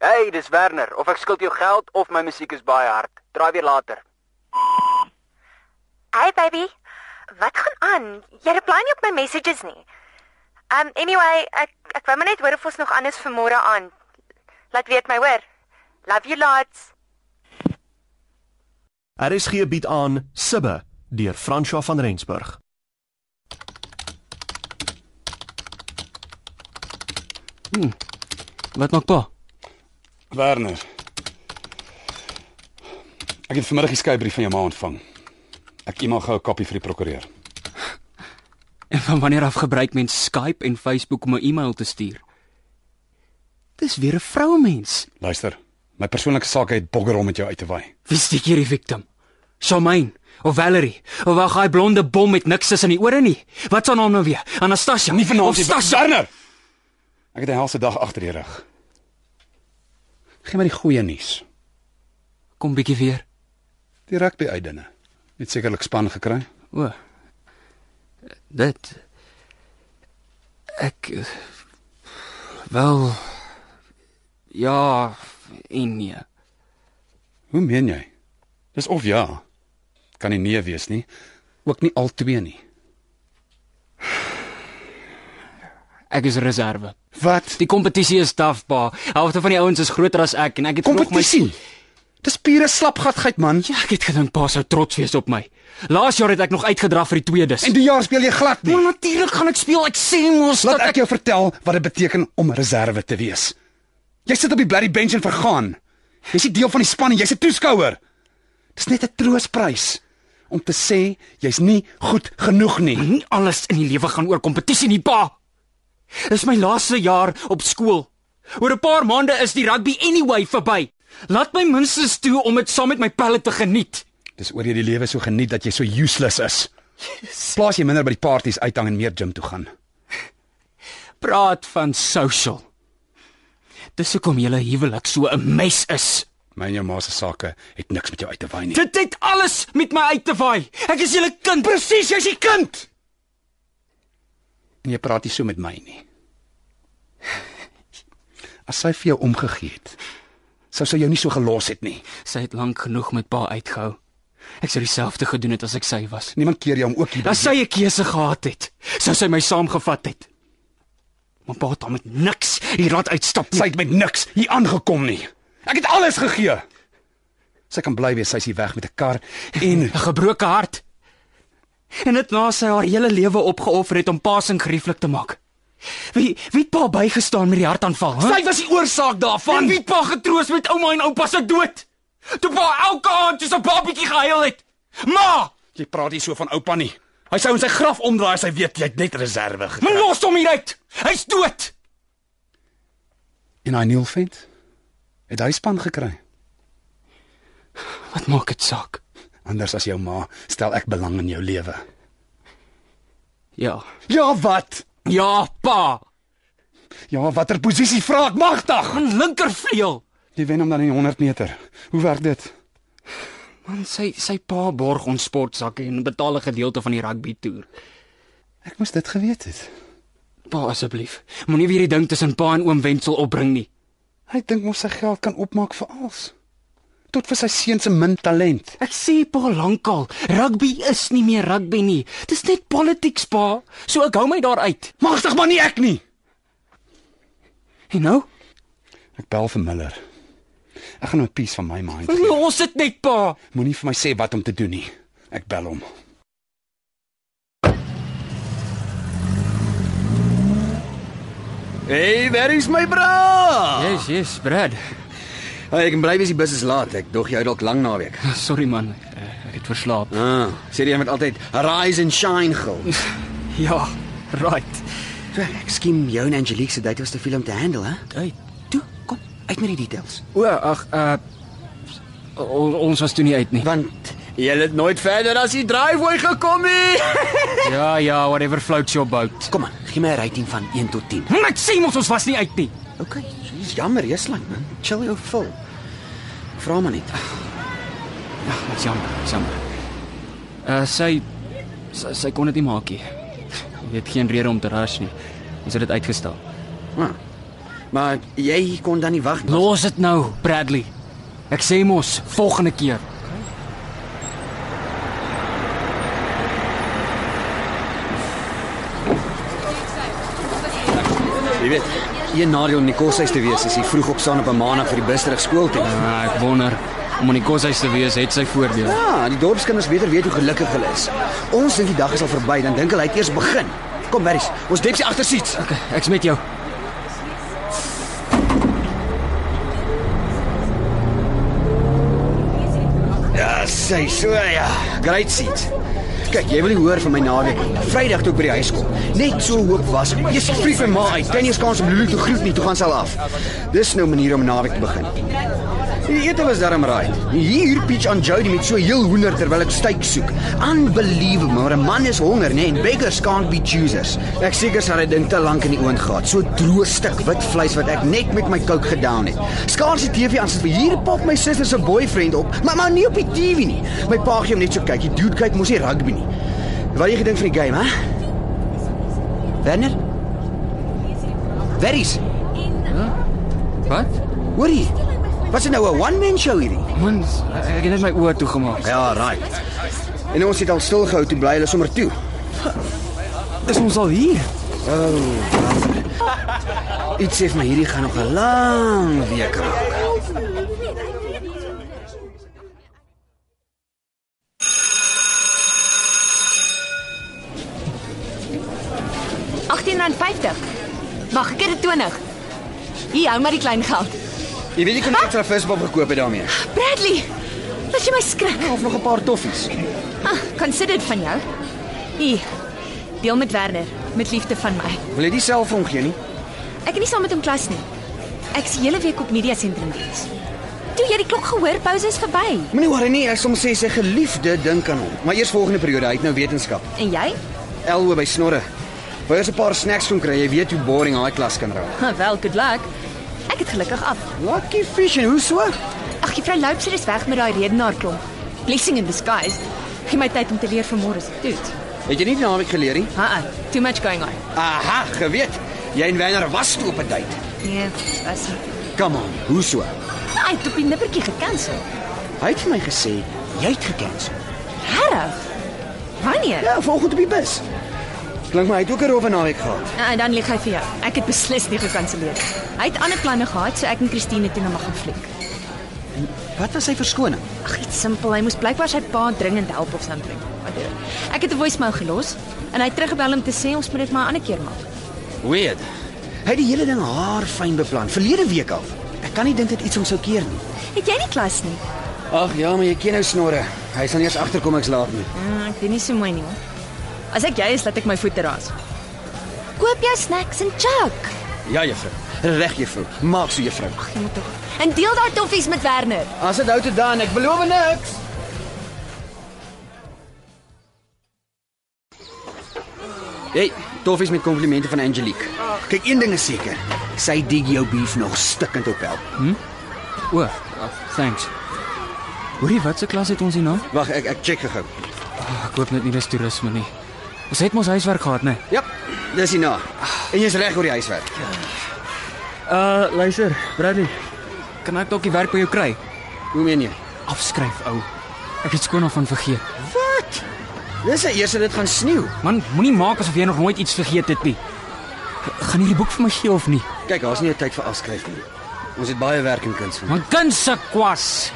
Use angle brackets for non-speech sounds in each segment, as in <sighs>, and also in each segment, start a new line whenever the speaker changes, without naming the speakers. Hey, dis Werner. Of ek skuld jou geld of my musiek is baie hard. Draai weer later.
Hey baby, wat gaan aan? Jy reply nie op my messages nie. Um anyway, ek ek wou maar net hoor of ons nog anders vir môre aand. Laat weet my hoor. Love you lots.
RSG bied aan Sibbe deur François van Rensburg.
Wat maak pa?
Werner. Ek het vanmiddag die skeybrief van jou ma ontvang. Ek e-mail gou 'n kopie vir die prokureur.
En van wanneer af gebruik mens Skype en Facebook om 'n e-mail te stuur? Dis weer 'n vroumens.
Luister, my persoonlike saak het bogger om met jou uit te waai.
Wie steek hierdie victim? Charmaine of Valerie? Of wag, daai blonde bom met niks tussen die ore nie. Wat se naam nou weer? Anastasia.
Nie vanaand
Of
nie,
Stasia.
Werner. Ek het 'n helse dag agter die rug. Geen maar die goeie nuus.
Kom bietjie weer.
Die rugby uitdinne. Net sekerlik span gekry.
O. Dit ek eh, wel ja en nee.
Hoe meen jy? Dis of ja. Kan nie nee wees nie. Ook nie al twee nie.
Ek is reserve.
Wat?
Die kompetisie is taaf pa. Helfte van die ouens is groter as ek en ek het vanoggend my-
Kompetisie. Dis pure slapgatgeit man.
Ja, ek het gedink pa sou trots wees op my. Laas jaar het ek nog uitgedra vir die tweedes.
En die jaar speel jy glad nie.
Maar natuurlik gaan ek speel. Ek sê mos
Laat
dat
ek jou vertel wat dit beteken om reserve te wees. Jy sit op die bloody bench en vergaan. Jy's nie deel van die span en jy's 'n toeskouer. Dis net 'n troosprys om te sê jy's nie goed genoeg nie.
nie alles in die lewe gaan oor kompetisie nie, pa. Dis my laaste jaar op skool. Oor 'n paar maande is die rugby anyway verby. Laat my minstens toe om dit saam met my pelle te geniet.
Dis oor jy die lewe so geniet dat jy so useless is. Plaas jy minder by die partytjies uithang en meer gym toe gaan.
Praat van social. Dis hoekom julle huwelik so 'n mes is.
My en jou ma se sake het niks met jou uit te waai nie.
Dit het alles met my uit te vaai. Ek is julle kind.
Presies, jy's die kind. En jy praat nie so met my nie. As sy vir jou omgegee het, sou sy jou nie so gelos het nie.
Sy het lank genoeg met pa uitgehou. Ek sou dieselfde gedoen het as ek sy was.
Niemand keer jou om ook hier.
As sy 'n keuse gehad het, sou sy my saamgevat het. Maar pa het hom met niks hierraad uitstap.
Sy
nie.
het met niks hier aangekom nie. Ek het alles gegee. Sy kan bly wees sy's hier weg met 'n kar en
'n gebroke hart. En dit na sy haar hele lewe opgeoffer het om pa se grieflik te maak. Wie wie het pa bygestaan met die hartaanval? Huh?
<laughs> sy was die oorsaak
En
daarvan.
wie het pa getroos met ouma en oupa se dood? Toe pa elke aand soos 'n babietjie gehuil het. Ma,
Jy praat nie so van oupa nie. Hy sou in sy graf omdraai as hy weet jy het net reserve
men
gekry.
los hom hier uit. Hy's dood.
En hy Neil vent het hy span gekry.
Wat maak dit saak?
Anders as jou ma, stel ek belang in jou lewe.
Ja.
Ja, wat?
Ja, pa.
Ja, watter posisie vra ek magtig?
Man linkervleuel.
Jy wen hom dan in die 100 meter. Hoe werk dit?
Man, sy sy pa borg ons sportsakke en betaal 'n gedeelte van die rugby toer.
Ek moes dit geweet het.
Pa asseblief, moenie weer die ding tussen pa en oom Wenzel opbring nie.
Hy dink mos sy geld kan opmaak vir alles. Tot vir sy seun se min talent.
Ek sê pa lankal, rugby is nie meer rugby nie. Dis net politics pa, so ek hou my daar uit.
Magtig maar nie ek nie.
En nou?
Ek bel vir Miller. Ek gaan hom 'n piece van my mind. gee.
Los dit net pa.
Moenie vir my sê wat om te doen nie. Ek bel hom.
Hey, waar is my bra?
Yes, yes, Brad.
Hey, ek bly wees die bus is laat. Ek dog jy uit dalk lang naweek.
Sorry man, eh, ek het verslaap.
Ah, sê jy met altyd rise and shine gil.
Ja, right.
So, ek skiem jou en Angelique se date was te veel om te handle, hè?
Hey.
Toe, kom, uit met die details.
O, ag, uh on, ons was toe nie uit nie.
Want jy het nooit verder as die driveway gekom nie.
Ja, ja, whatever floats your boat.
Kom aan, gee my 'n rating van 1 tot 10.
Hm, Ek sê mos ons was nie uit nie.
OK, so jy's jammer, jy's lank man. Chill jou vol. Vra maar net.
Ag, dis jammer, dis jammer. Uh sy sy, sy kon dit nie maak nie. Jy het geen rede om te rush nie. Ons het dit uitgestel.
Ah, Maar jy kon dan nie wag nie.
Los dit nou, Bradley. Ek sê mos, volgende keer.
Jy weet, een nadeel om in die koshuis te wees is jy vroeg opstaan op 'n maandag vir die bus terug skool toe.
Ah, ek wonder om in die koshuis te wees het sy voordele.
Ja, die dorpskinders beter weet hoe gelukkig hulle is. Ons dink die dag is al verby, dan dink hulle hy het eers begin. Kom, Berries, ons dep sy agtersiets.
Okay, ek's met jou.
Ja, sy so ja, great seats. Kyk, jy wil nie hoor van my naweek nie. Vrydag toe ek by die huis kom, net so hoop was. Jy sê vlieg my ma uit. Kan jy eens kans om Lulu te groet nie, toe gaan sy al af. Dis nou 'n manier om 'n naweek te begin. Die ete was darm right. Hier Peach aan Jody met so heel hoender terwyl ek steak soek. Unbelievable, maar 'n man is honger, né? En beggars can't be choosers. Ek seker sal hy ding te lank in die oond gehad. So droë stuk wit vleis wat ek net met my kook gedown het. Skaars die TV aan sit vir hier pop my suster se boyfriend op, maar maar nie op die TV nie. My pa gee hom net so kyk. Die dude kyk mos nie rugby nie. Wat het jy gedink van die game, hè? Werner? Veries,
Wat?
hoor jy? Wat is nou 'n one-man show hierdie?
Man, ek het net my oë toegemaak.
Ja, right. En ons het al stilgehou toe bly hulle sommer toe. Oh,
Is ons al hier?
Iets sê vir my hierdie gaan nog 'n lang week raak.
R18.50. Wag, ek het dit 20. Hier, hou maar die klein geld.
Jy weet jy kon net 'n visbab gekoop het daarmee. Ja,
Bradley, laat jy my skrik.
Of nog 'n paar toffies.
Ah, kan sit dit van jou. Hier. Deel met Werner, met liefde van my.
Wil jy die selfoon gee nie?
Ek het nie saam met hom klas nie. Ek's hele week op media sentrum diens. Toe jy die klok gehoor, pouse is verby.
Moenie worry nie, ek soms nee, sê sy geliefde dink aan hom. Maar eers volgende periode, hy het nou wetenskap.
En jy?
Elwe by snorre. Wou eers 'n paar snacks kon kry, jy weet hoe boring daai klas kan raak.
Ha, Wel, good luck. Ek het gelukkig af.
Lucky fish en hoe so?
Ag, juffrou Loupser is weg met daai redenaar klomp. Blessing in disguise. Gee my tyd om te leer vir môre se toets.
Het jy nie die naweek geleer nie?
Ha, too much going on.
Aha, geweet. Jy en Werner was toe op 'n date.
Nee, as nie.
Come on, hoe so?
Hy het op die nippertjie gekansel.
Hy het vir my gesê jy het gekansel.
Regtig? Wanneer?
Ja, vanoggend op die bus. Klink my hy het ook 'n rowwe naweek gehad.
Ja, En dan lieg hy vir jou. Ek het beslis nie gekanselleer nie. Hy het ander planne gehad, so ek en Christine het toe na my gaan fliek.
Wat was sy verskoning?
Ag, iets simpel. Hy moes blykbaar sy pa dringend help of something. Whatever. Ek het 'n voicemail gelos en hy het teruggebel om te sê ons moet dit maar 'n ander keer maak.
Weird. Hy het die hele ding haar fyn beplan verlede week al. Ek kan nie dink dit iets hom sou keer nie.
Het jy nie klas nie?
Ag ja, maar jy ken nou snorre. Hy sal nie eens agterkom ek's laat nie.
Mm, ek doen nie so mooi nie. hoor. As ek jy is, laat ek my voete raas. Koop jou snacks en chak.
Ja, juffrou. Reg juffrou. Maak so juffrou.
Jy moet tog. En deel daai toffies met Werner.
As dit hou te dan, ek beloof niks. Hey, toffies met komplimente van Angelique. Kyk, een ding is seker. Sy dig jou beef nog stikkend op help.
O, thanks. Hoorie, wat se klas het ons hier nou?
Wag, ek ek check gou.
Ek hoop net nie dis toerisme nie. Ons het mos huiswerk gehad, né?
Ja, dis hierna. En jy's reg oor die huiswerk.
Uh, luister, Bradley. Kan ek dalk die werk by jou kry?
Hoe meen jy?
Afskryf, ou. Ek het skoon af van vergeet.
Wat? Dis die eerste dit gaan sneeu.
Man, moenie maak asof jy nog nooit iets vergeet het nie. G- Gaan hierdie boek vir my gee of nie?
Kyk, daar's nie 'n tyd vir afskryf nie. Ons het baie werk in kuns van.
Man, kind se kwas.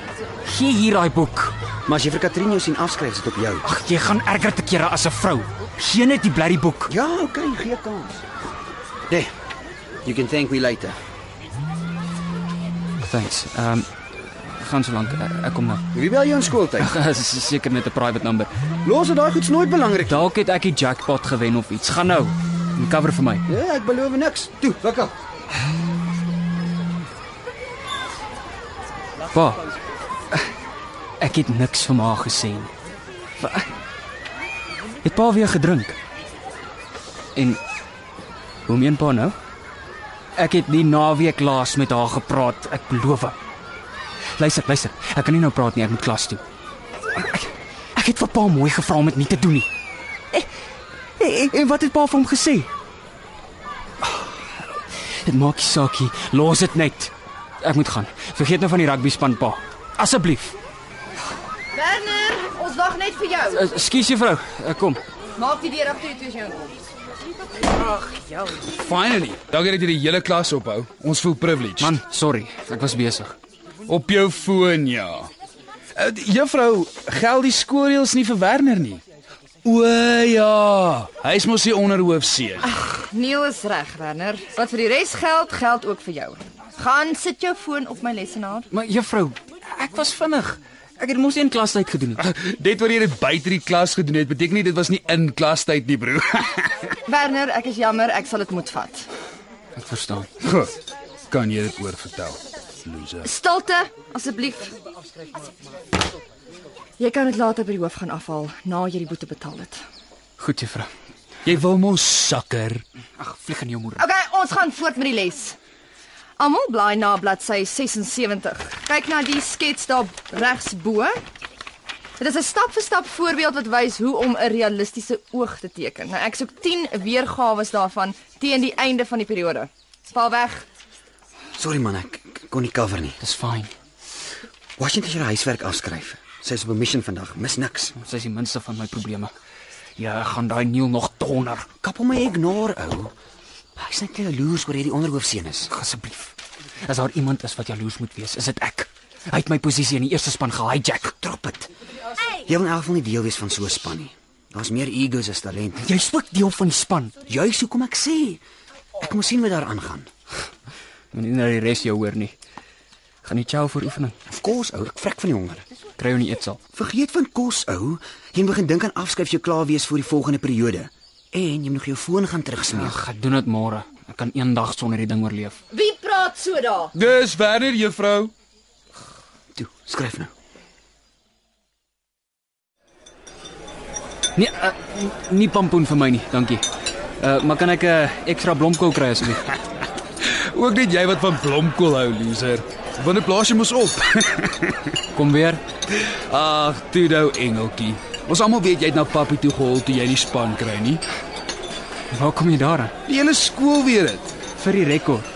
Gee hier daai boek.
Maar as jy vir Katrin jou sien afskryf, sit op jou.
Ag, jy gaan erger te kere as 'n vrou. Gee net die blerrie boek.
Ja, okay, gee kans. Nee. You can thank me later.
Thanks. Ehm um, gaan so lank. Ek, ek kom nou. <laughs>
Wie bel jou in skooltyd?
Dis seker net 'n private number.
Los dit daai goeds nooit belangrik.
Dalk het ek die jackpot gewen of iets. Gaan nou. En cover vir my.
Nee, ek beloof niks. Toe, lekker.
Pa. Ek het niks vir ma gesê nie. Wa- Het pa weer gedrink? En hoe meen pa nou? Ek het die naweek laas met haar gepraat, ek beloof. Luister, luister. Ek kan nie nou praat nie, ek moet klas toe. Ek, ek het vir pa mooi gevra om dit nie te doen nie. En, en wat het pa vir hom gesê? Dit maak nie saak nie. Los dit net. Ek moet gaan. Vergeet nou van die rugby span pa. Asseblief.
Werner, ons wag net vir jou.
Ekskuus Eh, juffrou. Ek kom.
Maak die deur af toe toe as jy inkom.
Finally. Dankie dat jy die hele klas ophou. Ons voel privileged.
Man, sorry. Ek was besig.
op jou foon, ja. Uh, juffrou, geld die skoolreëls nie vir Werner nie. O ja, hy is mos die onderhoofseun.
Neil is reg, Werner. Wat vir die res geld, geld ook vir jou. Gaan sit jou foon op my lesenaar.
Maar juffrou, ek was vinnig. Ek het mos nie in klastyd gedoen nie.
Dit wat jy dit buite die klas gedoen het, beteken nie dit was nie in klastyd nie, broer.
Werner, ek is jammer, ek sal dit moet vat.
Ek verstaan.
Goed. Kan jy dit oor vertel? Loser.
Stilte, asseblief. Jy kan dit later by die hoof gaan afhaal na jy die boete betaal het.
Goed juffrou.
Jy wil mos sakker.
Ag, vlieg in jou moeder.
Okay, ons gaan voort met die les. Almal blaai na bladsy 76. Kyk na die skets daar regs bo. Dit is 'n stap-vir-stap voorbeeld wat wys hoe om 'n realistiese oog te teken. Nou ek soek 10 weergawe daarvan teen die einde van die periode. Spaal weg.
Sorry man, ek ek kon nie cover nie.
Dis fyn.
Washington het haar huiswerk afskryf. Sy is op 'n missie vandag. Mis niks.
Sy is die minste van my probleme. Ja, ek gaan daai Neil nog donder.
Kap hom my ignore, ou. Hy's net jaloers oor hierdie onderhoofseun is.
Asseblief. As daar iemand is wat jaloers moet wees, is dit ek. Hy het my posisie in die eerste span gehijack.
Drop dit. Jy wil in elk geval nie deel wees van so 'n span nie. Daar's meer egos as talent.
Jy spuk deel van die span.
Juis hoekom ek sê, ek moet sien wat daar aangaan.
Moenie nou die res jou hoor nie. Gaan nie chow vir oefening.
Of kos, ou, ek vrek van die honger.
Kry jou in die eetsaal.
Vergeet van kos, ou. Jy begin dink aan afskryf jy klaar wees vir die volgende periode. En jy moet nog jou foon gaan terugsmeer.
Ag, ek doen dit môre. Ek kan eendag sonder die ding oorleef.
Wie praat so daar?
Dis Werner, juffrou.
Toe, skryf nou.
Nee, uh, nie pampoen vir my nie, dankie. Uh, maar kan ek 'n uh, ekstra blomkool kry asseblief?
<laughs> Ook net jy wat van blomkool hou, loser. Wanneer plaas jy mos op?
<laughs> Kom weer.
Ag, toe nou engeltjie. Ons almal weet jy het na papi toe gehol toe jy die span kry nie.
Waar kom jy daaraan?
Die hele skool weet dit.
Vir die rekord.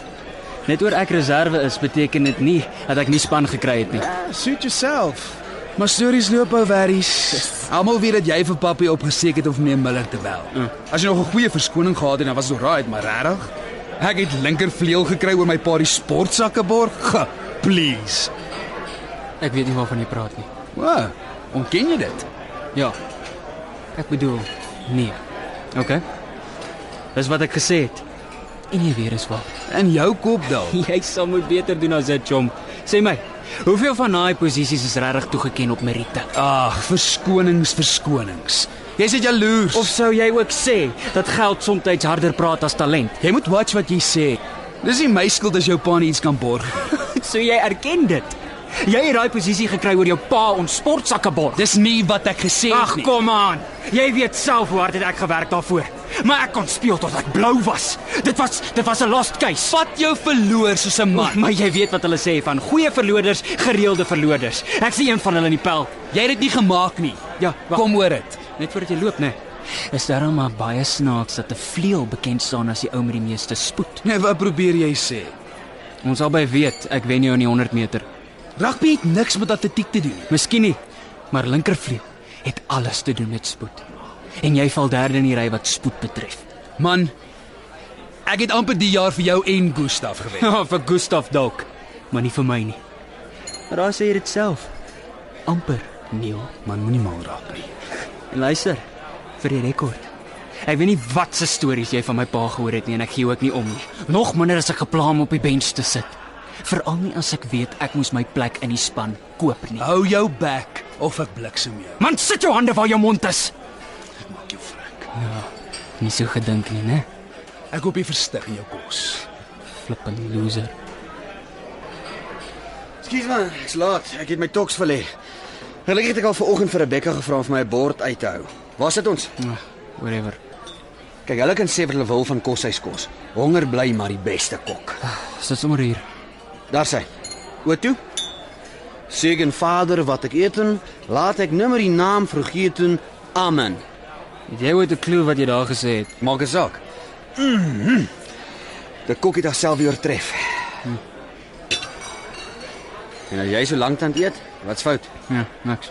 Net oor ek reserve is, beteken dit nie dat ek nie span gekry het nie.
Suit yourself. Maar stories loop ou werries. Almal weet dat jy vir papi opgesteek het om meneer Miller te bel. Mm. As jy nog 'n goeie verskoning gehad het, dan was dit alright, maar regtig? Ek het linkervleuel gekry oor my pa die sportsakke borg. Ge, Please.
Ek weet nie waarvan jy praat nie.
Wow, ontken jy dit?
Ja. Ek bedoel, nee. OK. Dis wat ek gesê het. En jy weer is waar. <laughs>
In jou kop dan.
Jy sal moet beter doen as dit, chom. Sê my, hoeveel van daai posisies is regtig toegeken op meriete? Ah,
Ag, verskonings, verskonings. Jy's net jaloers.
Of sou jy ook sê dat geld soms harder praat as talent?
Jy moet watch wat jy sê. Dis nie my skuld as jou pa nie iets kan borg. <laughs>
So jy erken dit. Jy het daai posisie gekry oor jou pa ons sportsakke borg.
Dis nie wat ek gesê
Ag
het nie.
kom aan. Jy weet self hoe hard het ek gewerk daarvoor. Maar ek kon speel tot ek blou was. Dit was dit was 'n lost case.
vat jou verloor soos 'n
Maar, maar jy weet wat hulle sê van goeie verloders, gereelde verloders. Ek sien een van hulle in die pel.
Jy het dit nie gemaak nie.
Ja, wacht.
Kom hoor dit.
Net voordat jy loop, né? Nee. Is daar maar baie snaaks dat 'n vleuel bekend staan as die ou met die meeste spoed.
Nee, wat probeer jy sê?
Ons albei weet ek wen jou in die 100 meter.
Rugby het niks met atletiek te doen nie.
Miskien nie, maar linkervleuel het alles te doen met spoed. En jy val derde in die ry wat spoed betref.
Man, ek het amper die jaar vir jou en Gustaf
<laughs>
gewen.
Oh, vir Gustaf dalk, maar nie vir my nie. Maar daar sê jy dit self. Amper, Neil,
Man, moenie mal raak nie.
En luister, vir die rekord. Ek weet nie wat se stories jy van my pa gehoor het nie en ek gee ook nie om nie. Nog minder as ek gepla om op die bench te sit. Veral nie as ek weet ek moes my plek in die span koop nie.
Hou jou bek of ek bliksem jou.
Man, sit jou hande waar jou mond is. Ja,
Maak jou vrek.
Nie so gedink nie, né?
Ek hoop jy verstig in jou kos.
Flippin loser.
Ekskuus man, ek's laat. Ek het my toks verlê. Gelukkig het ek al vanoggend vir Rebekka gevra om vir my 'n bord uit te hou. Waar sit ons?
Ag, Whatever.
Kyk, hulle kan sê wat hulle wil van koshuiskos. Honger bly maar die beste kok.
Sit sommer hier.
Daar sê. Oor toe. Segen Vader wat ek eten, laat ek nimmer die naam vergeet. Amen.
Het jy ooit 'n klou wat jy daar gesê het?
Maak 'n saak. Mm -hmm. Die Mhm. kok het haarself weer tref. En as jy so lank aan het eet, wat's fout?
Ja, niks.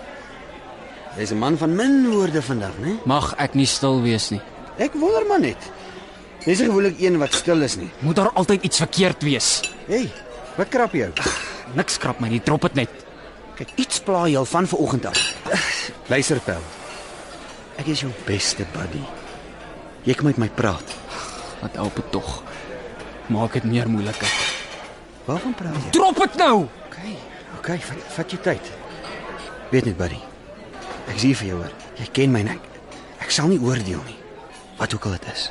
Jy's 'n man van min woorde vandag, né?
Mag ek nie stil wees nie.
Ek wonder maar net. Jy's gewoonlik een wat stil is nie.
Moet daar altyd iets verkeerd wees?
Hey, wat krap jou?
Niks krap my nie, drop dit net.
Kyk, iets pla jou al van vanoggend af. Luister, Pel. Ek is jou beste buddy. Jy kan met my praat.
Wat help dit tog? Maak dit meer moeiliker.
Waarvan praat jy?
Drop dit nou.
Okay. Okay, vat, vat jou tyd. Weet net, buddy. Ek sien vir jou hoor. Jy ken my nek. Ek sal nie oordeel nie. Wat ook al dit is.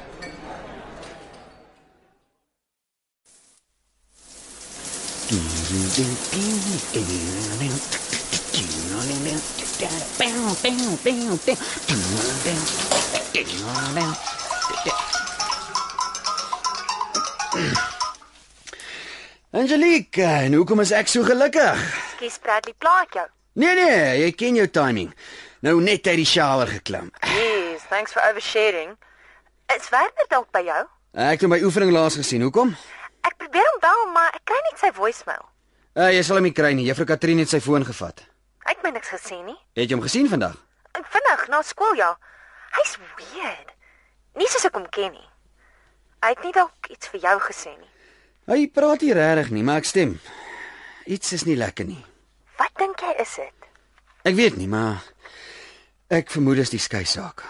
Angelique, en hoekom is ek so gelukkig?
Ekskuus Bradley, pla ek jou?
Nee nee, jy ken jou timing. Nou net uit die shower geklim.
Yes, thanks for oversharing. Is Werner dalk by jou?
Ek het nou my oefening laas gesien. Hoekom?
Ek probeer hom bel, maar ek kry net sy voicemail.
Uh, jy sal hom nie kry nie. Juffrou Katrine het sy foon gevat.
Hy het my niks gesê nie.
Het jy hom gesien vandag?
Ek vinnig na skool ja. Hy's weird. Nie soos ek hom ken nie. Hy het nie dalk iets vir jou gesê nie.
Hy praat nie regtig nie, maar ek stem. Iets is nie lekker nie.
Wat dink jy is dit?
Ek weet nie, maar ek vermoed dis die skei saak.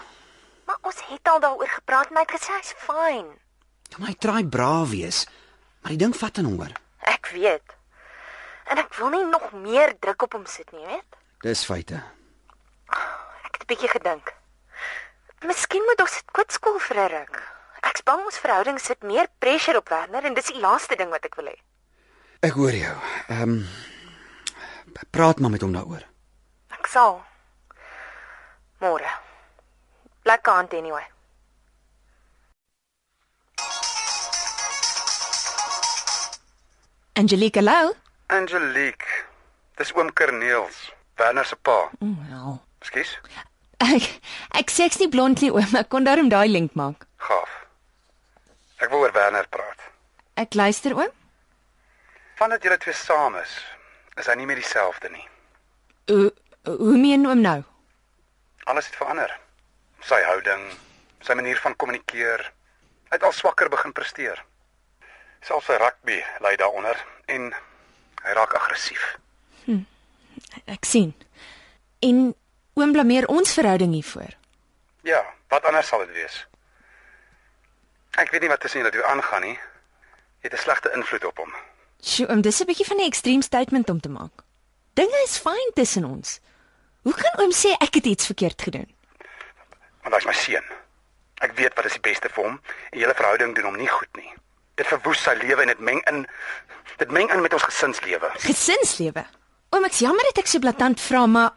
Maar ons het al daaroor gepraat en hy het gesê hy's fyn.
Ja, maar hy probeer braaf wees, maar die ding vat aan hom oor.
Ek weet. En ek wil nie nog meer druk op hom sit nie, weet?
Dis feite.
Ek het 'n bietjie gedink. Miskien moet ons dit kwit skool vir 'n ruk. Ek's bang ons verhouding sit meer pressure op Werner en dis die laaste ding wat ek wil hê.
Ek hoor jou. Ehm um, praat maar met hom daaroor.
Ek sal. Môre. Lekker aand anyway.
Angelique, hallo.
Angelique. Dis oom Kerneels, Werner se pa.
Wel.
Ekskuus.
Ek ek sê ek's nie blond nie oom, ek kon daarom daai link maak.
Gaaf. Ek wil oor Werner praat.
Ek luister oom.
Vandat julle twee saam is, is hy nie meer dieselfde nie.
Hoe hoe meen oom nou?
Alles het verander. Sy houding, sy manier van kommunikeer. Hy het al swakker begin presteer. Selfs sy rugby lê daaronder en hy raak aggressief.
Ek sien. En oom blameer ons verhouding hiervoor.
Ja, wat anders sal dit wees? Ek weet nie wat tussen julle twee aangaan nie. Jy het 'n slegte invloed op hom.
Sjoe, oom, dis 'n bietjie van 'n extreme statement om te maak. Dinge is fyn tussen ons. Hoe kan oom sê ek het iets verkeerd gedoen?
want hy's my seun. Ek weet wat is die beste vir hom en julle verhouding doen hom nie goed nie. Dit verwoes sy lewe en dit meng in dit meng in met ons gesinslewe.
Gesinslewe. Oom, ek's jammer dat ek so blaatant vra, maar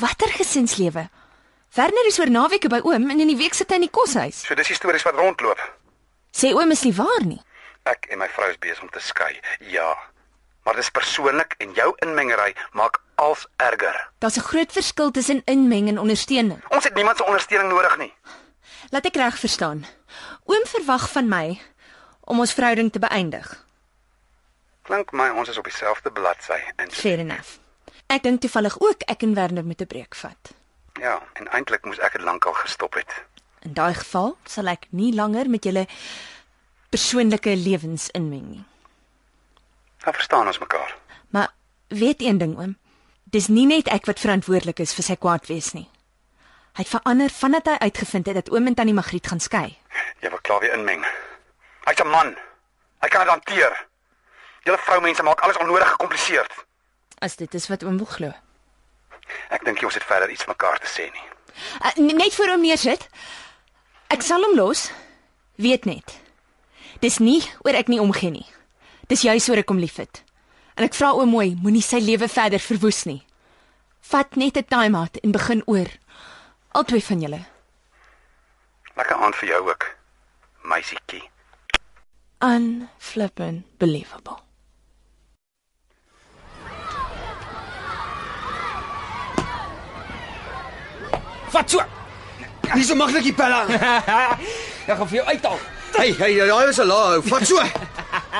watter gesinslewe? Werner is oor naweke by oom en in die week sit hy in die koshuis.
So dis die stories wat rondloop.
Sê oom is nie waar nie.
Ek en my vrou is besig om te skei. Ja. Maar dis persoonlik en jou inmengery maak als erger.
Daar's 'n groot verskil tussen inmeng en ondersteuning.
Ons het niemand se ondersteuning nodig nie.
Laat ek reg verstaan. Oom verwag van my om ons verhouding te beëindig.
Klink my ons is op dieselfde bladsy en
Fair enough. Ek dink toevallig ook ek en Werner moet 'n breek vat.
ja, en eintlik moes ek dit lankal gestop het.
In daai geval sal ek nie langer met julle persoonlike lewens inmeng nie.
Dan Nou verstaan ons mekaar.
Maar weet een ding oom, dis nie net ek wat verantwoordelik is vir sy kwaad wees nie. Hy het verander vandat hy uitgevind het dat oom en tannie Magriet gaan skei.
Jy wil klaar weer inmeng. Hy's 'n man. Hy kan dit hanteer. Julle vroumense maak alles onnodig gekompliseerd.
As dit is wat oom wil glo.
Ek dink nie ons het verder iets mekaar te sê nie.
Uh, net voor hom neersit. Ek sal hom los. Weet net. Dis nie oor ek nie omgee nie. Dis juis oor ek hom liefhet. En ek vra oom mooi, moenie sy lewe verder verwoes nie. Vat net 'n time-out en begin oor. Albei van julle.
Lekker aand vir jou ook, meisietjie.
Unflippin believable.
Vat so.
Nie <laughs> so maklik, Pella.
Ek gaan vir jou uithaal.
Hey, hey, daai was 'n laai. Vat so.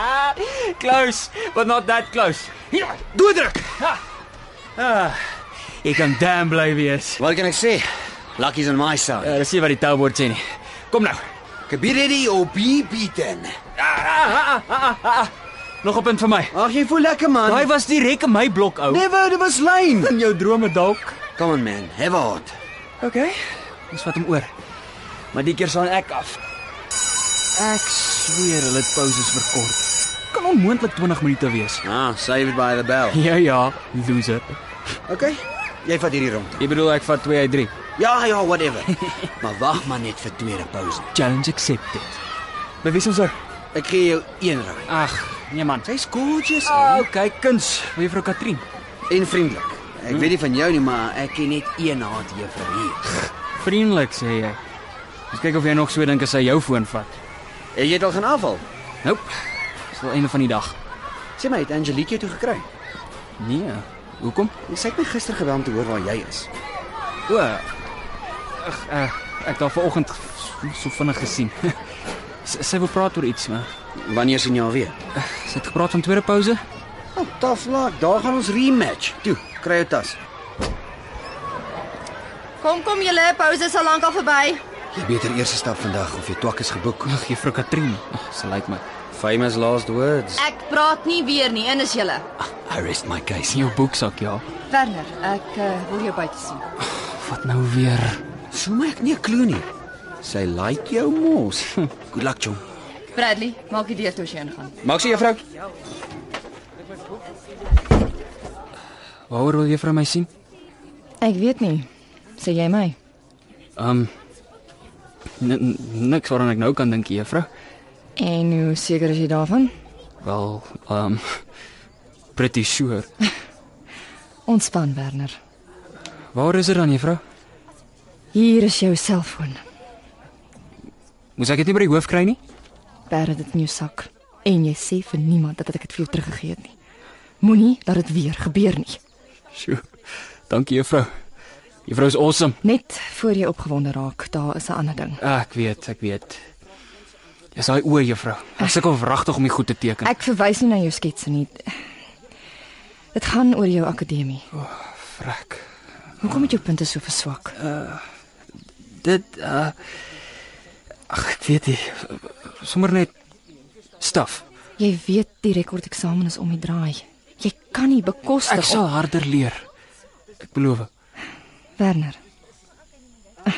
<laughs> close, but not that close. Ah,
Hier, doodruk.
Jy kan damn bly wees.
Wat kan ek sê? Lucky's on my side.
Ja, dis nie wat die toubord sê nie. Kom nou.
Ek be ready op beaten.
Nog 'n punt vir my.
Ag, jy voel lekker man.
Daai was direk in my blok ou.
Never, dit was lyn.
in jou drome dalk.
Come on man, have a heart.
Okay. Ons vat hom oor. Maar die keer staan ek af. Ek sweer hulle het pauses verkort. Kan onmoontlik 20 minute wees.
Ah, saved by the bell.
<laughs> Ja ja, loser.
Okay. Jy vat hierdie rond.
Jy bedoel ek vat 2 uit 3.
Ja, ja, <laughs> whatever. maar wag maar net vir tweede pouse.
Challenge accepted. Maar wie sou
Ek gee jou een raai.
Ag, nee man.
Sy's gorgeous
Oh, kyk kuns, mevrou Katrin.
en vriendelik. Ek weet nie van jou nie, maar ek ken net een haat juffrou hier.
Vriendelik sê jy. Ons kyk of jy nog so dink as sy jou foon vat.
Het jy dit al gaan afval?
Nope. Dis wel einde van die dag.
Sê my, het Angelique jou toe gekry?
Nee. Hoekom?
Sy het my gister gebel om te hoor waar jy is.
O. Ag, uh, ek daar vanoggend so, so vinnig gesien. <laughs> sy, sy wil praat oor iets, maar
Wanneer sien jy haar weer?
sy het gepraat van tweede pouse.
Oh, tough luck. Daar gaan ons rematch. Toe, kry jou tas.
Kom kom julle, pouse is al lank al verby.
Jy beter eers stap vandag of jy twak is geboek.
Ag, juffrou Katrin. Ag, sy lyk my.
Famous last words.
Ek praat nie weer nie, in is julle.
I rest my case.
Sien jou boeksak, ja.
Werner, ek uh,
eh,
wil jou buite sien.
Wat nou weer?
So my ek Ja, nie 'n klou nie. Sy like jou mos. <laughs> Good luck, John.
Bradley, maak die deur toe as jy ingaan.
Maak sy juffrou.
Waaroor wil juffrou my sien?
Ek weet nie. Sê jy my?
Um n- n- niks waaraan ek nou kan dink, juffrou.
En hoe seker is jy daarvan?
Wel, um <laughs> pretty sure.
Ontspan, Werner.
Waar is dit dan, juffrou?
Hier is jou selfoon.
Moes ek dit nie by die hoof kry nie?
Bær dit in jou sak en jy sê vir niemand dat ek dit vir jou teruggegee het nie. Moenie dat dit weer gebeur nie.
Sjoe. Dankie, juffrou. Juffrou is awesome.
Net voor jy opgewonde raak, daar is 'n ander ding.
Ah, ek weet, ek weet. Dis daai oë, juffrou. Ek sukkel wragtig om dit goed te teken.
Ek verwys nie na jou sketse nie. Dit gaan oor jou akademie.
Frek.
Hoekom het jou punte so verswak?
Dit uh Ag, ek weet nie. Sommer net staf.
Jy weet die rekordeksamen is om die draai. Jy kan nie bekostig
Ek sal harder leer. Ek beloof.
Werner. Ag,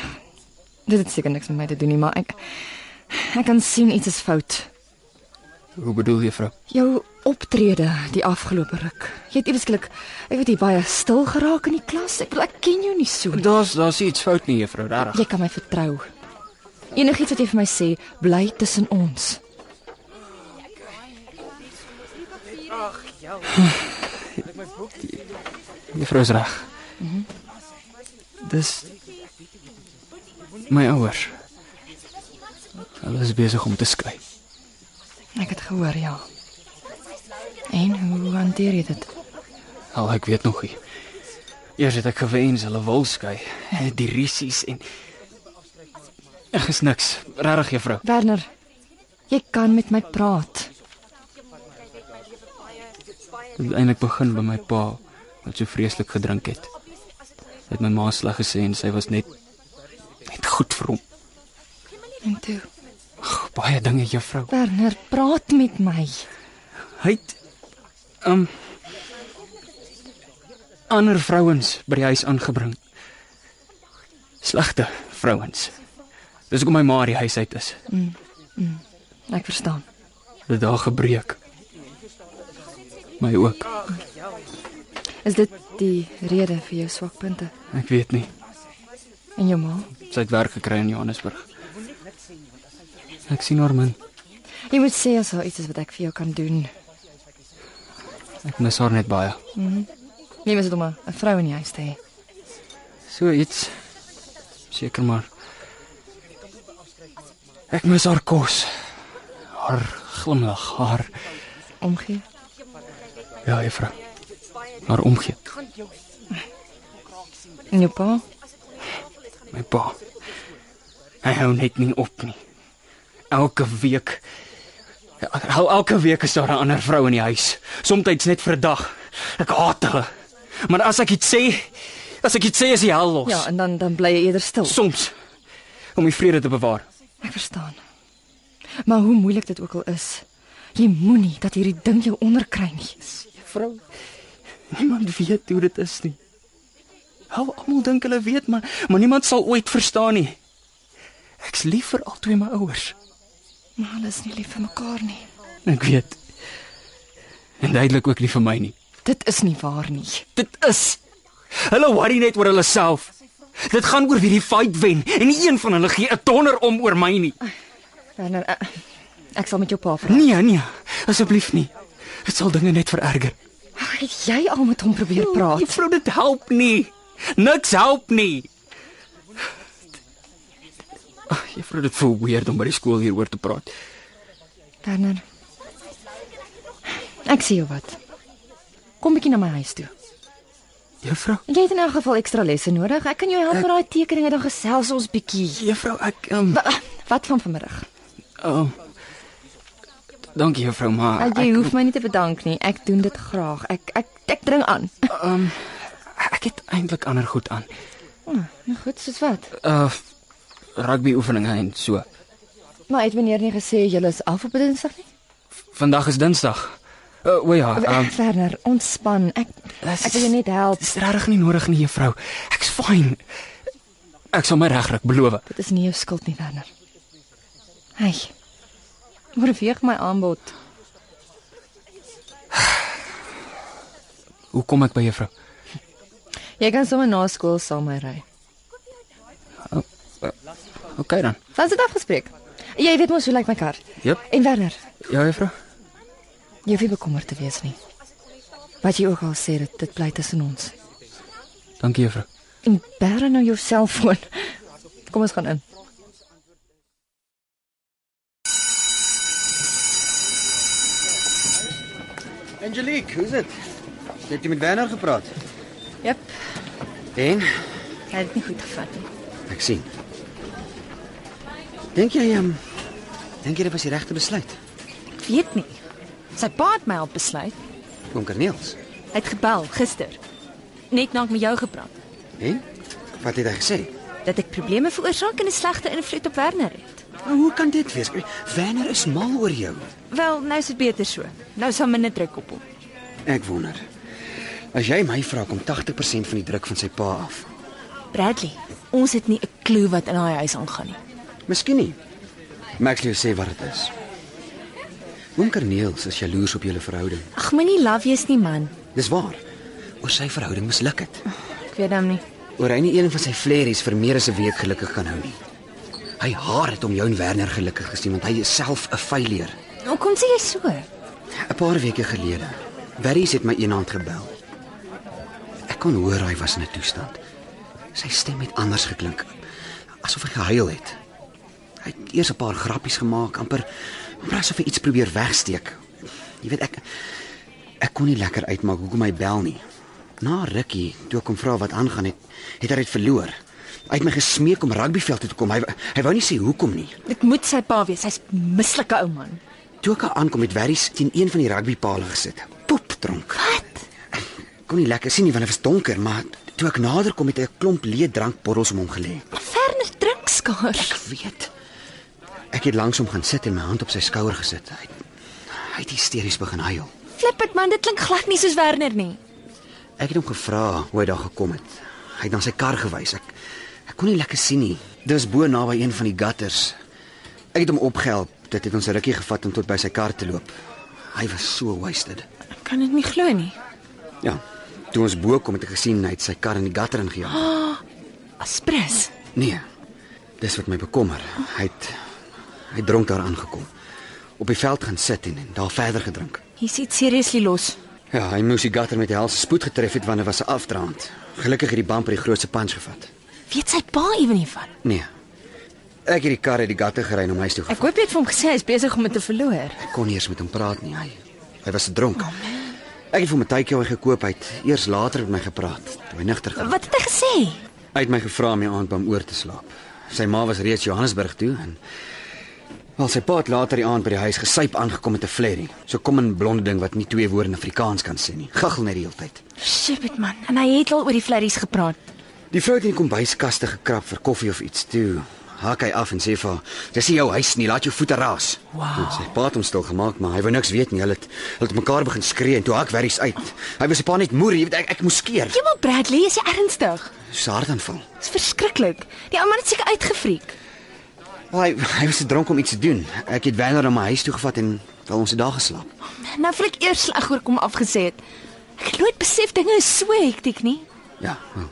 Dit het seker niks met my te doen nie, maar ek ek kan sien iets is fout.
Hoe bedoel juffrou?
Jou optrede die afgelope ruk. Jy het ewe skielik, ek weet jy baie stil geraak in die klas. Ek bedoel, ek ken jou nie so nie.
Daar's daar's iets fout nie, juffrou, regtig.
Jy kan my vertrou. Enigiets wat jy vir my sê, bly tussen ons.
Juffrou is reg. Mhm. Dis my ouers. Hulle is besig om te skei.
Ek het gehoor, ja. En hoe hanteer jy dit?
Al ek weet nog nie. Eers het ek gewens hulle wil <laughs> skei, die risies en Ag, is niks. Regtig, juffrou.
Werner, jy kan met my praat.
Uiteindelik begin by my pa wat so vreeslik gedrink het. Hy het my ma sleg gesê en sy was net net goed vir hom.
En toe,
Baie dinge, juffrou.
Werner, praat met my.
Hy het um ander vrouens by die huis aangebring. Slegte vrouens. Dis hoekom my ma uit die huis uit is.
Ek verstaan.
Dit daar gebreek. My ook.
Is dit die rede vir jou swakpunte
Ek weet nie.
en jou ma?
Sy het werk gekry in Johannesburg. Ek sien haar min.
Jy moet sê as daar iets is wat ek vir jou kan doen.
Ek mis haar net baie.
Jy moet dit om 'n 'n vrou in die huis te hê.
So iets seker maar. Ek mis haar kos. Haar glimlag, haar
omgee.
ja, juffrou. Haar omgee.
En jou pa?
My pa. Hy hou net nie op nie. Elke week Hou elke week is daar 'n ander vrou in die huis. Somstyds net vir 'n dag. Ek haat hulle. Maar as ek iets sê, as ek iets sê is die hel los.
Ja, en dan dan bly jy eerder stil.
Soms om die vrede te bewaar.
Ek verstaan. Maar hoe moeilik dit ook al is, jy moenie dat hierdie ding jou onderkry nie.
Vrou, niemand weet hoe dit is nie. Hou almal dink hulle weet, maar maar niemand sal ooit verstaan nie. Ek's lief vir albei my ouers.
Maar hulle is nie lief vir mekaar nie.
Ek weet. En duidelik ook nie vir my nie.
Dit is nie waar nie.
Dit is hulle worry net oor hulle self. Dit gaan oor wie die fight wen en nie een van hulle gee 'n donder om oor my nie.
Werner, ek, ek sal met jou pa praat.
Nee, nee, asseblief nie. Dit sal dinge net vererger.
Ag, het jy al met hom probeer praat?
Juffrou, dit help nie. Niks help nie. Ag, juffrou, dit voel weird om by die skool hieroor te praat.
Werner. Ek sien jou wat. Kom bietjie na my huis toe.
Juffrou,
Jy het in elk geval ekstra lesse nodig. Ek kan jou help met daai tekeninge dan gesels ons bietjie.
juffrou, ek ehm um,
Wa- Wat van vanmiddag?
oh, Dankie juffrou, maar
Ah, Ek, jy hoef my nie te bedank nie. Ek doen dit graag. Ek ek ek dring aan.
ek het eintlik ander goed aan.
Nou goed, soos wat.
Uh rugby oefeninge en so.
Maar het meneer nie gesê jy is af op Dinsdag nie?
Vandag is Dinsdag. Uh, o ja, ehm
Ag, <laughs> Werner, ontspan. Ek ek wil jou net help.
Dis regtig nie nodig nie, juffrou. Ek's fyn. Ek sal my regryk beloof.
Dit is nie jou skuld nie, Werner. Hey. Oorweeg my aanbod.
Hoe kom ek by juffrou?
Jy kan sommer na skool saam met my ry.
OK dan.
Dan is dit afgespreek. Jy weet mos hoe lyk my kar.
Jep.
En Werner,
Ja, juffrou.
jy hoef nie bekommerd te wees nie. Wat jy ook al sê, dit, dit bly tussen ons.
Dankie juffrou.
En bera nou jou selfoon. Kom ons gaan in.
Angelique, hoe's dit? Het jy met Werner gepraat?
Jep.
En
Hy het dit nie goed gevat nie.
ek sien. Dink jy ehm dink jy dit was die regte besluit?
Ek weet nie. Sy pa het my help besluit.
Kom Corneels.
Hy het gebel gister. Net nadat ek met jou gepraat
En wat het hy gesê?
dat ek probleme veroorsaak en 'n slegte invloed op Werner het.
Nou, hoe kan dit wees? Werner is mal oor jou.
Wel, nou is dit beter so. Nou sal minder druk op hom.
Ek wonder. As jy my vra kom 80% van die druk van sy pa af.
Bradley, ons het nie 'n klou wat in daai huis aangaan nie.
Miskien nie. Maar ek sal jou sê wat dit is. Oom Corneels is jaloers op julle verhouding.
Ag, moenie laf wees nie, man.
Dis waar. Oor sy verhouding misluk het.
Ek weet hom nie.
Oor hy nie een van sy flerries vir meer as 'n week gelukkig kan hou nie. Hy haar het om jou en Werner gelukkig gesien want hy is self 'n failure.
Hoekom Nou, sê jy so?
'n Paar weke gelede, Berries het my eendag gebel. Ek kon hoor hy was in 'n toestand. Sy stem het anders geklink, asof hy gehuil het. Hy het eers 'n paar grappies gemaak, amper amper asof hy iets probeer wegsteek. Jy weet ek ek kon nie lekker uitmaak hoekom hy bel nie. Na rukkie, toe ek hom vra wat aangaan het, het hy dit verloor. Hy het my gesmeek om rugbyveld toe te kom. Hy wou- hy wou nie sê hoekom nie.
Dit moet sy pa wees. Hy's 'n mislike ou man.
Toe ek aankom het Werries teen een van die rugbypale gesit. Pop dronk. Wat? Kon nie lekker sien nie want dit was donker, maar toe ek nader kom het hy 'n klomp leë drankbottels om hom gelê.
Maar Werner drink skaars.
Ek weet. Ek het langs hom gaan sit en my hand op sy skouer gesit. Hy hy het hysteries begin huil.
Flip dit man, dit klink glad nie soos Werner nie.
Ek het hom gevra hoe hy daar gekom het. Hy het na sy kar gewys. Ek ek kon nie lekker sien nie. Dis bo naby een van die gutters. Ek het hom opgehelp. Dit het ons 'n rukkie gevat om tot by sy kar te loop. Hy was so wasted.
Ek kan dit nie glo nie.
Ja. Toe ons bo kom het ek gesien hy het sy kar in die gutter ingejaag.
Aspres.
Nee. Dis wat my bekommer. Hy het hy het dronk daar aangekom. Op die veld gaan sit en, en daar verder gedrink.
Hier's iets seriously los.
Ja, hy moes die gutter met helse spoed getref het want dit was 'n afdraand. Gelukkig het die bumper die grootste punch gevat.
Weet sy pa ewen hiervan?
Nee. Ek het die kar uit die gutter gery en hom huis toe
Ek
gevat.
hoop jy het vir hom gesê hy's besig om dit te verloor.
Ek Oh, kon nie eers met hom praat nie. Hy hy was dronk. Ek het vir my tydjie hy gekoop. Hy het eers later met my gepraat. Toe hy nigter geraak.
Wat het hy gesê?
Hy het my gevra om die aand by hom oor te slaap. Sy ma was reeds Johannesburg toe en Wel sy pa het later die aand by die huis gesyp aangekom met 'n flerry. So kom 'n blonde ding wat nie twee woorde in Afrikaans kan sê nie. Gaggel net die hele tyd.
Shit man, en hy het al oor die flerries gepraat.
Die vrou het in die kombuiskaste gekrap vir koffie of iets toe. Haak hy af en sê vir haar: "Dis nie jou huis nie, laat jou voete raas." Wow. Sy pa het hom stil gemaak, maar hy wou niks weet nie. Hulle het hulle het mekaar begin skree en toe hak werries uit. Hy was 'n paar net moer, jy weet ek ek moes skeer.
Jemmel Bradley, is jy ernstig?
Soos 'n hartaanval.
Dis verskriklik. Die ou man het seker uitgefriek.
Wel, Hy hy was te dronk om iets te doen. Ek het Werner na my huis toe gevat en wel ons het daar geslaap.
Nou voel ek eers sleg oor kom afgesê het. Ek het nooit besef dinge is so hektiek nie.
Ja. Wel,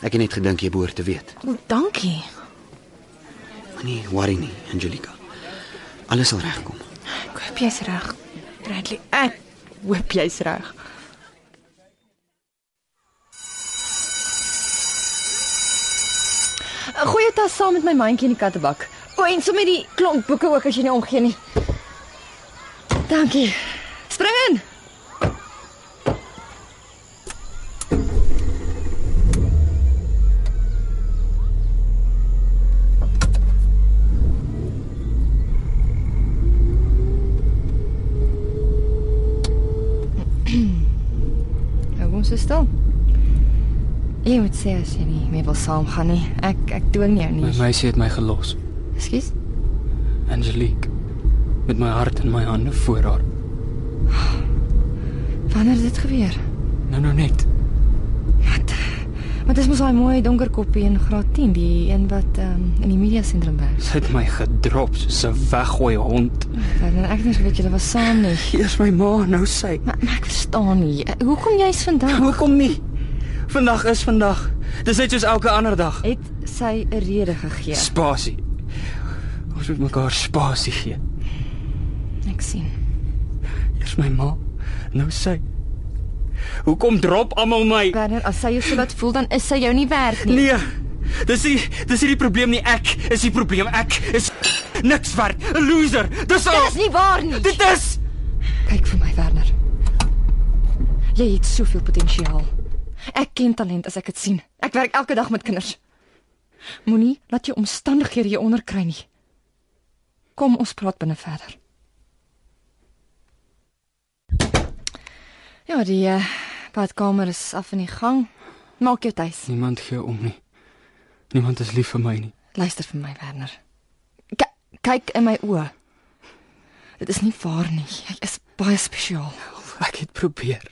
ek het net gedink jy behoort te weet.
O, dankie.
Nee, worry nie, Angelica. Alles sal regkom.
Ek hoop jy's reg. Bradley, ek hoop jy's reg.
Gooi jou tas saam met my mandjie in die kattebak. O, en sommer die klomp boeke ook as jy nie omgee nie. Dankie. Spring <clears throat> in. Nou kom so stil. Jy moet sê as jy nie meer wil saamgaan nie. Ek ek dwing jou
My
nie.
meisie het my gelos.
Ekskuus.
Angelique met my hart in my hande voor haar.
Wanneer het dit gebeur?
Nou nou net.
Wat? Maar dis mos daai mooi donker koppie in graad 10, die een wat ehm in die media sentrum werk.
Sy het my gedrop soos 'n weggooi hond.
Dan ek dink weet julle was saam nie.
Eers my ma, nou sy.
Maar, maar ek verstaan nie. Hoe kom jy's vandag?
Hoekom nie? Vandag is vandag. Dis net soos elke ander dag.
Het sy 'n rede
Ja.
gegee?
Spasie. Ons moet mekaar spasie gee.
Ek sien.
Eers my ma, nou sy. Hoekom drop almal my?
Werner, as sy jou so laat voel, dan is sy jou nie werd nie.
Nee. Dis nie dis nie die probleem nie. Ek is die probleem. Ek is niks werd. 'n Loser. Dis al.
Dis nie waar nie.
Dit is
Kyk vir my, Werner. Jy het soveel potensiaal. Ek ken talent as ek dit sien. Ek werk elke dag met kinders. Moenie laat jou omstandighede jou onderkry nie. Kom ons praat binne verder. Ja, die uh, badkamer is af in die gang. Maak jou tuis.
Niemand gee om nie. Niemand is lief vir my nie.
Luister vir my, Werner. K kyk in my oë. Dit is nie waar nie. Jy is baie spesiaal.
Ek het probeer.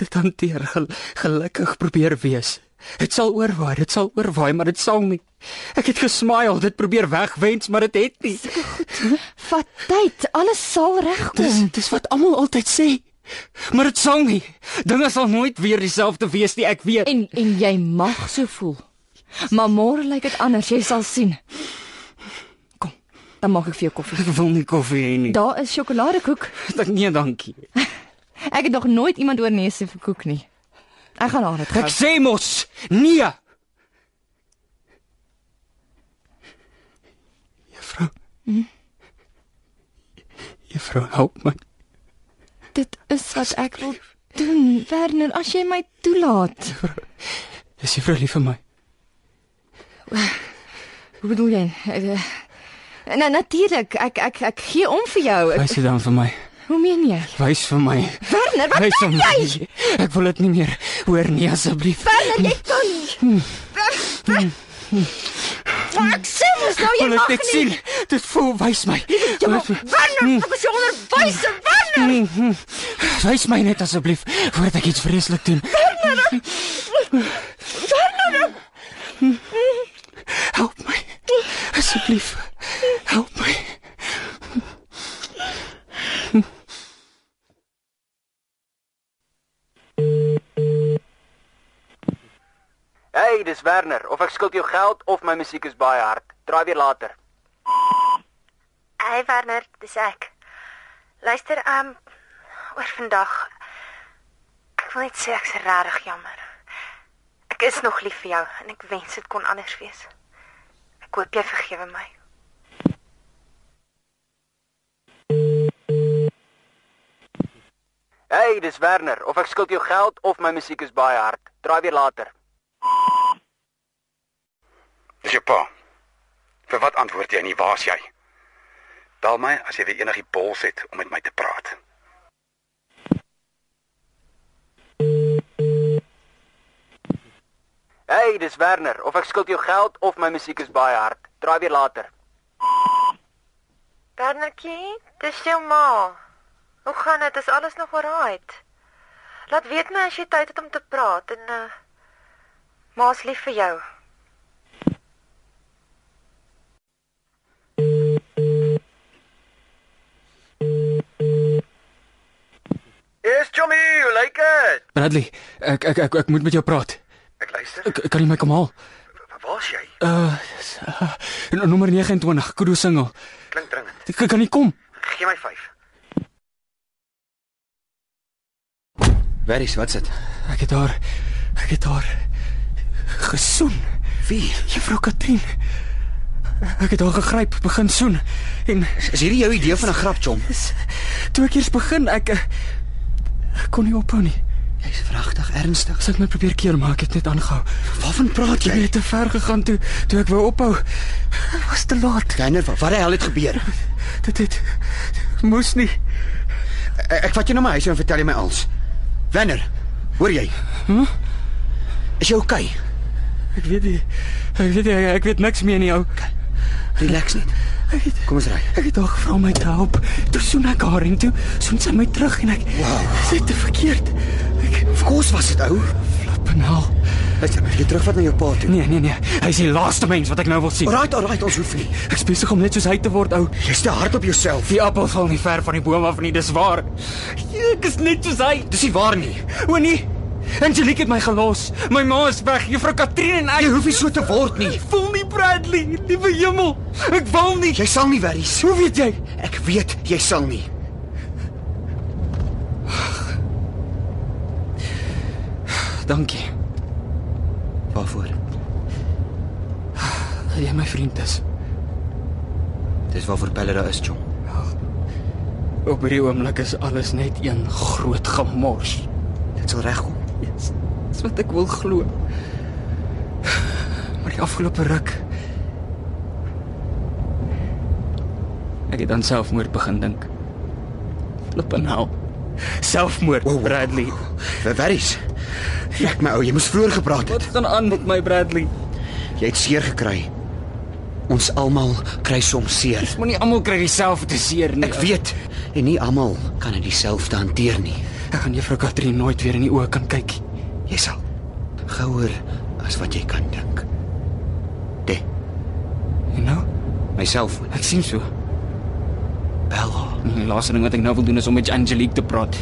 Dit hanteer gel gelukkig probeer wees. Dit sal oorwaai, dit sal oorwaai, maar dit sal nie. Ek het gesmile, dit probeer wegwens, maar dit het nie.
Vat tyd, alles sal regkom.
Dis dis wat almal altyd sê. Maar dit sal nie. Dinge sal nooit weer dieselfde wees nie, ek weet.
En en jy mag so voel. Maar môre lyk dit anders, jy sal sien. Kom, dan maak ek vir jou koffie.
Ek wil nie koffie hê nie.
Daar is sjokoladekoek.
Dank nee, dankie.
Ek het nog nooit iemand oor nee sê vir koek nie. Ek gaan haar dit
Ek
gee.
sê mos, nee. Juffrou.
Hm?
Juffrou, help my.
Dit is wat ek wil doen, Werner, as jy my toelaat.
Is juffrou lief vir my?
Hoe bedoel jy? Eh, Nou natuurlik, ek ek ek gee om vir jou. Ek,
Wys dit dan vir my.
hoe meen jy?
Wys vir my.
Werner, wat
Wys vir my. Ek wil dit nie meer hoor nie asseblief.
Werner, jy kan nie. Ek sê mos nou jy
Wil
mag
dit
nie.
net sien. Dit voel wys my. Wys my.
Werner, wat is jou onderwyser, Werner?
Wys my net asseblief voordat ek iets vreeslik doen. Help my. Asseblief. Help my.
Hey, dis Werner. Of ek skuld jou geld of my musiek is baie hard. Draai weer later.
Hey Werner, dis ek. Luister, ehm um, oor vandag. Ek wil net sê ek's regtig jammer. Ek is nog lief vir jou en ek wens dit kon anders wees. Ek hoop jy vergewe my.
Hey, dis Werner. Of ek skuld jou geld of my musiek is baie hard. Draai weer later.
Dis jou pa. Vir wat antwoord jy nie? Waar's jy? Bel my as jy weer enigie bols het om met my te praat.
Hey, dis Werner. Of ek skuld jou geld of my musiek is baie hard. Draai weer later.
Wernertjie, dis jou ma. Hoe gaan dit? Is alles nog alright? Laat weet my as jy tyd het om te praat en uh Ma's lief vir jou.
Yes, Chommy, hoe lyk dit?
Bradley, ek ek ek ek moet met jou praat.
Ek luister.
Ek, ek kan nie my kom haal.
Waar's jy?
Uh, s- uh nommer 29, Kudu Single.
Klink dringend.
Ek ek kan nie kom.
Gee my 5.
Veris, wat's dit?
Ek het haar ek het haar gesoen.
Wie?
Juffrou Katrin. Ek het haar gegryp, begin soen en
Is, is hierdie jou idee van 'n grap, Chom?
toe ek eers begin, ek eh, ek kon nie ophou nie.
Jy's vragtig ernstig.
Sy het my probeer keer maar ek het net aangehou.
Waarvan praat
Jy
jy?
het te ver gegaan toe toe ek wou ophou. Dit was te laat.
Kleiner, wat wat die hel het gebeur?
Dit het moes nie.
E-, Ek, ek vat jou na my huis en vertel jy my alles. Wanneer? Hoor jy? Hm? Is jy oukei? Okay?
Ek weet nie. Ek weet nie, ek weet niks meer nie ou.
Relax net. Kom ons ry.
Ek het haar gevra om my te help. Toe soen ek haar en toe soen sy my terug en ek
Wow.
sy het te verkeerd. Ek
Of course was dit ou.
flip en haal.
Luister, jy terugvat na jou pa toe.
Nee, nee, nee. Hy is die laaste mens wat ek nou wil sien.
Alraai, alraai, ons hoef nie.
Ek is besig om net soos hy te word ou.
Jy's te hard op jouself.
Die appel val nie ver van die boom af nie, dis waar. Ek is net soos hy.
Dis nie waar nie.
O nee. Angelique het my gelos. My ma is weg. Juffrou Katrien en ek
Jy hoef nie so te word nie.
Ek voel nie Bradley, liewe hemel. Ek wil nie.
Jy sal nie worries.
Hoe weet jy?
Ek weet jy sal nie.
Dankie
Waarvoor?
dat jy my vriend is
Dis waarvoor Bella daar is, John.
Op hierdie oomblik is alles net een groot gemors.
Dit sal regkom.
Dis dis wat ek wil glo. Maar die afgelope ruk ek het aan selfmoord begin dink. Flip en hel. Selfmoord,
Wow, wow.
Bradley.
Waar worries? Ek my ou, jy moes vroeër gepraat
Wat
het.
gaan aan met my Bradley?
Jy het seer gekry. Ons almal kry soms seer.
Ons moenie almal kry dieselfde te seer nie.
Ek weet en nie almal kan dit dieselfde hanteer nie.
ek gaan juffrou Katrin nooit weer in die oë kan kyk.
Jy sal gouer as wat jy kan dink. Dit,
You know?
myself,
Ek sien so.
Bella
Die laaste ding wat ek nou wil doen is om met Angelique te praat.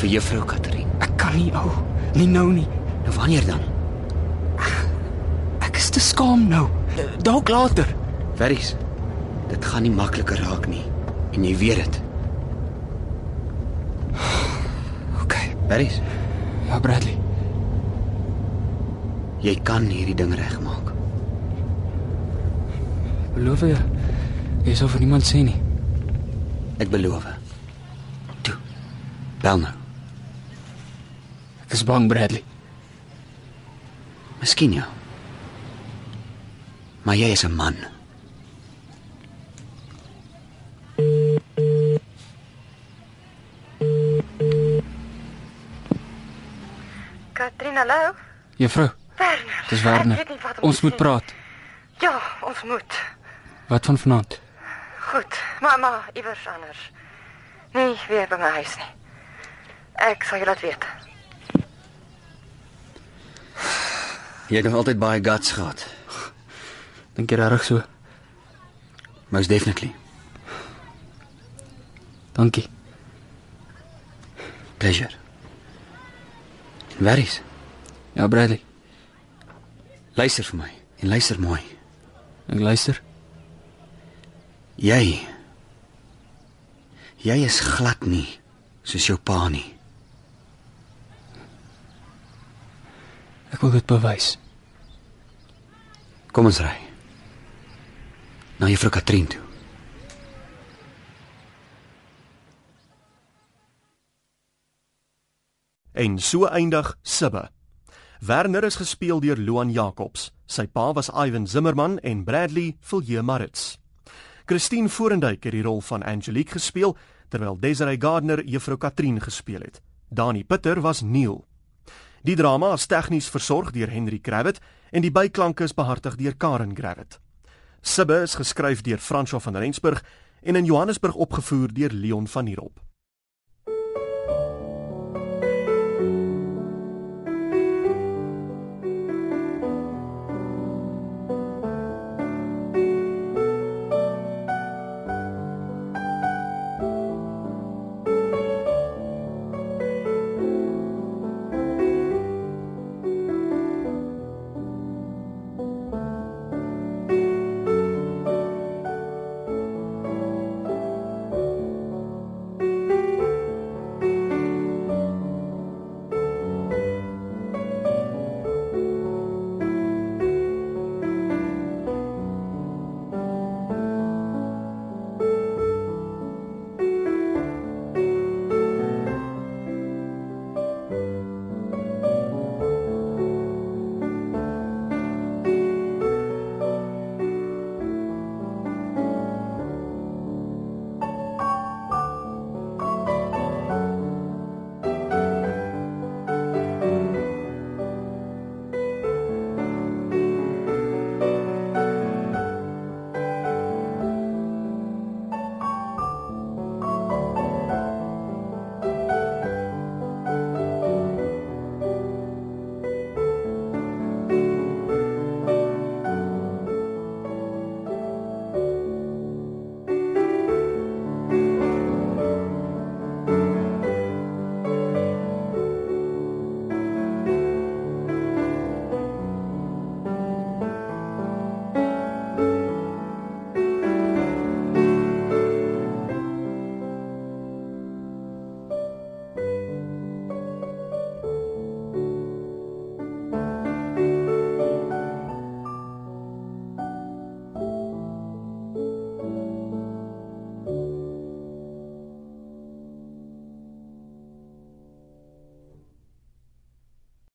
vir juffrou Katherine.
Ek kan nie, ou. Nie nou nie.
Nou wanneer dan?
Ek is te skaam nou. Dalk later.
Verries. Dit gaan nie makliker raak nie en jy weet dit. <sighs>
OK.
Verries,
Ja, Bradley.
jy kan hierdie ding regmaak.
Beloof jy? Jy sal vir niemand sê nie.
Ek beloof. Toe. Bel nou.
Ek is bang, Bradley.
Miskien ja. Maar jy is 'n man.
Katrin, hallo.
Juffrou,
Werner.
dis
Ek
Werner.
weet nie wat om
Ons
te
moet
sê.
praat.
Ja, ons moet.
Wat van vanaand?
Goed, maar maar iewers anders. Nie weer by my huis nie. Ek sal jou laat weet.
Jy het nog altyd baie guts gehad.
Dink jy regtig so?
Most definitely.
Dankie.
Pleasure. Verries,
Ja, Bradley.
luister vir my en luister mooi.
Ek luister.
Jy jy is glad nie soos jou pa nie.
Ek wil dit bewys.
Kom ons ry. Na juffrou Katrin toe.
En so eindig Sibbe. Werner is gespeel deur Loan Jacobs. Sy pa was Ivan Zimmerman en Bradley Viljoen Maritz. Christine Forendyk het die rol van Angelique gespeel, terwyl Desiree Gardner juffrou Katrien gespeel het. Dani Pitter was Neil. Die drama is tegnies versorg deur Henry Kravitz en die byklanke is behartig deur Karen Kravitz. Sibbe is geskryf deur François van Rensburg en in Johannesburg opgevoer deur Leon van Heerop.